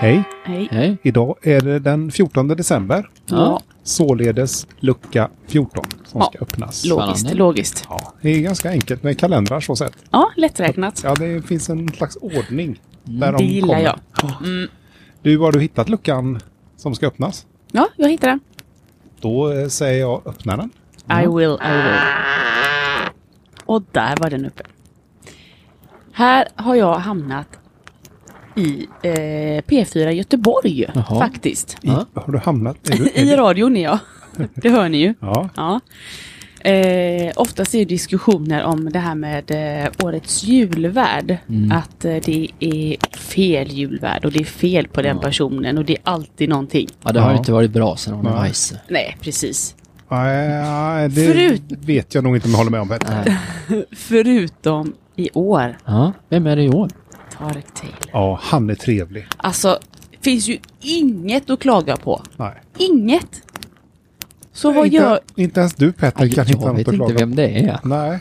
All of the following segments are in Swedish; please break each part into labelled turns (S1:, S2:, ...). S1: Hej!
S2: Hej.
S3: Hej.
S1: Idag är det den 14 december.
S3: Ja.
S1: Således lucka 14 som
S2: Ja.
S1: ska öppnas.
S2: Logiskt,
S3: Spännande.
S2: logiskt.
S1: Ja, det är ganska enkelt med kalendrar så sett.
S2: Ja, lätträknat.
S1: Ja, det finns en slags ordning. Där
S2: Det gillar
S1: kommer.
S2: jag.
S1: Du, har du hittat luckan som ska öppnas?
S2: Ja, jag hittade den.
S1: Då eh, säger jag öppna den.
S2: I will, I will. Och där var den uppe. Här har jag hamnat i eh, P4 Göteborg
S3: Jaha.
S2: faktiskt.
S1: I,
S3: Ja.
S1: Har du hamnat? Är du, är
S2: I
S1: du,
S2: radion är jag. Det hör ni ju.
S1: ja,
S2: Ja. Eh, oftast är det diskussioner om det här med eh, årets julvärd.
S3: Mm.
S2: Att eh, det är fel julvärd och det är fel på den personen och det är alltid någonting.
S3: ja, det har
S1: Ja.
S3: ju inte varit bra sen Arne Weise.
S2: Nej, precis.
S1: nej, nej, det
S2: Förut-
S1: vet jag nog inte om jag håller med om. Vet. du.
S2: Förutom i år,
S3: Ja, vem är det i år?
S2: Tarek Taylor.
S1: Ja, han är trevlig.
S2: Alltså, finns ju inget att klaga på.
S1: Nej.
S2: Inget! Så vad
S1: inte,
S2: gör...
S1: inte ens du Petter kan hitta
S3: jag
S1: något att
S3: vet
S1: klaga
S3: inte
S1: på.
S3: vem det är.
S1: Nej,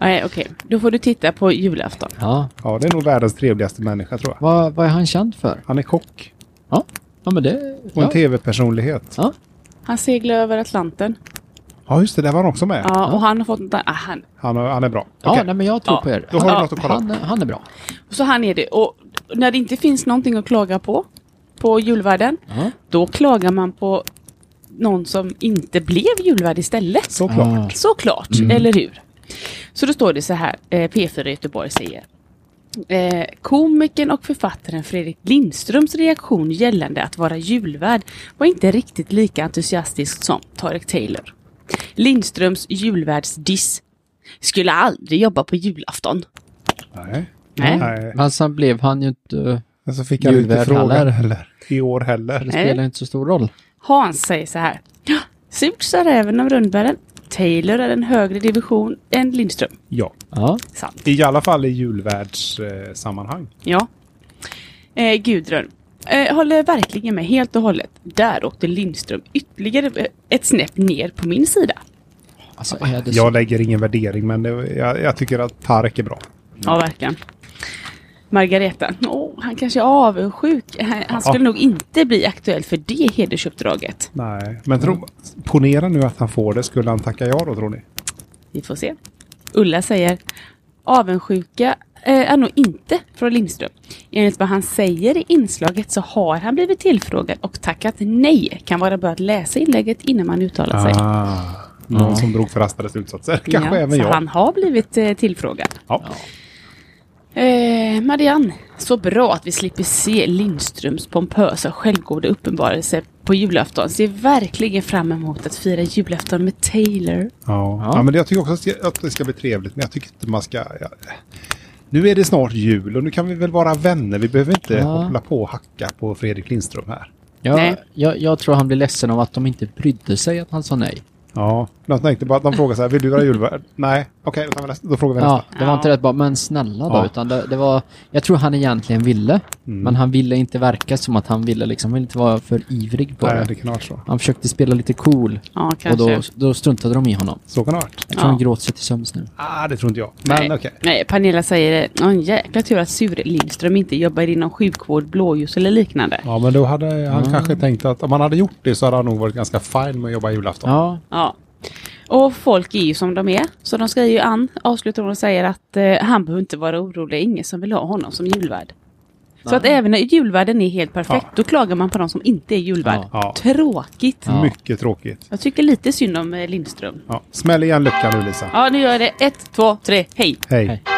S2: Nej, okej. Då får du titta på julafton.
S3: Ja,
S1: ja, det är nog världens trevligaste människa tror jag.
S3: vad, vad är han känd för?
S1: Han är kock
S3: Ja, ja men det...
S1: och en
S3: Ja.
S1: tv-personlighet.
S3: Ja.
S2: Han seglar över Atlanten.
S1: Ja, just det, där var han också med.
S2: Ja, och han har fått... Ah, han,
S1: Han, har- han är bra.
S3: Ja,
S1: Okej.
S3: nej, men jag tror
S2: Ja.
S3: på er.
S1: Då har du
S3: han,
S1: något att kolla
S3: han, han är bra.
S2: Så här är det. Och när det inte finns någonting att klaga på, på julvärden,
S3: Ja.
S2: då klagar man på någon som inte blev julvärd istället.
S1: Såklart.
S3: Ah.
S2: Såklart, eller hur? Så då står det så här, eh, P4 Göteborg säger. Eh, komikern och författaren Fredrik Lindströms reaktion gällande att vara julvärd var inte riktigt lika entusiastisk som Tarek Taylor. Lindströms julvärdsdiss skulle aldrig jobba på julafton.
S1: Nej.
S2: Nej.
S1: Nej.
S3: Men sen blev han ju inte...
S1: Men så fick han inte
S3: Julvärd
S1: frågan
S3: heller.
S1: heller. I år heller.
S3: Det spelar inte så stor roll.
S2: Hans säger så här. "Ja, Surt sa räven om rönnbären. Taylor är en högre division än Lindström.
S1: Ja.
S3: Ja.
S2: Sant.
S1: I alla fall i julvärldssammanhang. Eh, sammanhang.
S2: Ja. Eh, Gudrun. Eh, håller verkligen med helt och hållet. Där åkte Lindström ytterligare eh, ett snäpp ner på min sida.
S3: Alltså, är det så?
S1: jag lägger ingen värdering, men det, jag, jag tycker att Tarek är bra.
S2: Ja, verkligen. Margareta. Åh, han kanske är avundsjuk. Han, han skulle nog inte bli aktuell för det hedersuppdraget.
S1: Nej, men
S2: Mm.
S1: tro, ponera nu att han får det. Skulle han tacka ja då, tror ni?
S2: Vi får se. Ulla säger avundsjuka eh, är nog inte från Lindström. Enligt vad han säger i inslaget så har han blivit tillfrågad och tackat nej. Kan vara bra att läsa inlägget innan man uttalar sig.
S1: Ah, någon som drog förhastade slutsatser. Kanske
S2: ja,
S1: även
S2: så
S1: jag.
S2: han har blivit eh, tillfrågad.
S1: Ja.
S2: Eh, Marianne, så bra att vi slipper se Lindströms pompösa självgoda uppenbarelse på julafton. Ser verkligen fram emot att fira julafton med Taylor.
S1: Ja.
S3: Ja.
S1: Ja. men jag tycker också att det- att det ska bli trevligt, men jag tycker inte man ska... Ja. Nu är det snart jul och nu kan vi väl vara vänner. Vi behöver inte
S3: Ja.
S1: hålla på och hacka på Fredrik Lindström här.
S3: Jag,
S2: Nej.
S3: jag, jag tror han blir ledsen av att de inte brydde sig att han sa nej.
S1: Ja, men jag tänkte bara att de frågar så här, vill du vara julvärd? Nej, okej, då, tar vi nästa. då frågar vi
S3: Ja,
S1: nästa.
S3: det var
S2: Ja.
S3: inte rätt bara, men snälla då.
S1: Ja.
S3: Utan det, det var, jag tror han egentligen ville, men han ville inte verka som att han ville liksom, han ville inte vara för ivrig på
S1: Nej,
S3: det.
S1: det kan ha varit så.
S3: Han försökte spela lite cool
S2: Ja,
S3: och
S2: kanske.
S3: då, då struntade de i honom.
S1: Så kan det ha varit.
S3: Jag tror
S2: Ja.
S3: han gråter sig till sömns nu.
S1: Ah, det tror inte jag. Men okej.
S2: Nej. Nej, Pernilla säger det. en jäkla tur att Sure Lindström inte jobbar inom sjukvård, blåljus eller liknande. Ja.
S1: Ja, men då hade han kanske tänkt att om han hade gjort det så hade han nog varit ganska fin med att jobba julafton.
S3: Ja,
S2: Och folk är ju som de är, så de skriver ju an, avslutar hon och säger att eh, han behöver inte vara orolig, ingen som vill ha honom som julvärd. Så att även när julvärden är helt perfekt,
S1: Ja.
S2: då klagar man på de som inte är julvärd.
S1: Ja.
S2: Tråkigt!
S3: Ja.
S1: Mycket tråkigt.
S2: Jag tycker lite synd om eh, Lindström.
S1: Ja. Smäll igen luckan nu, Lisa.
S2: Ja, nu gör jag det. Ett, två, tre, hej!
S1: Hej.
S3: Hej.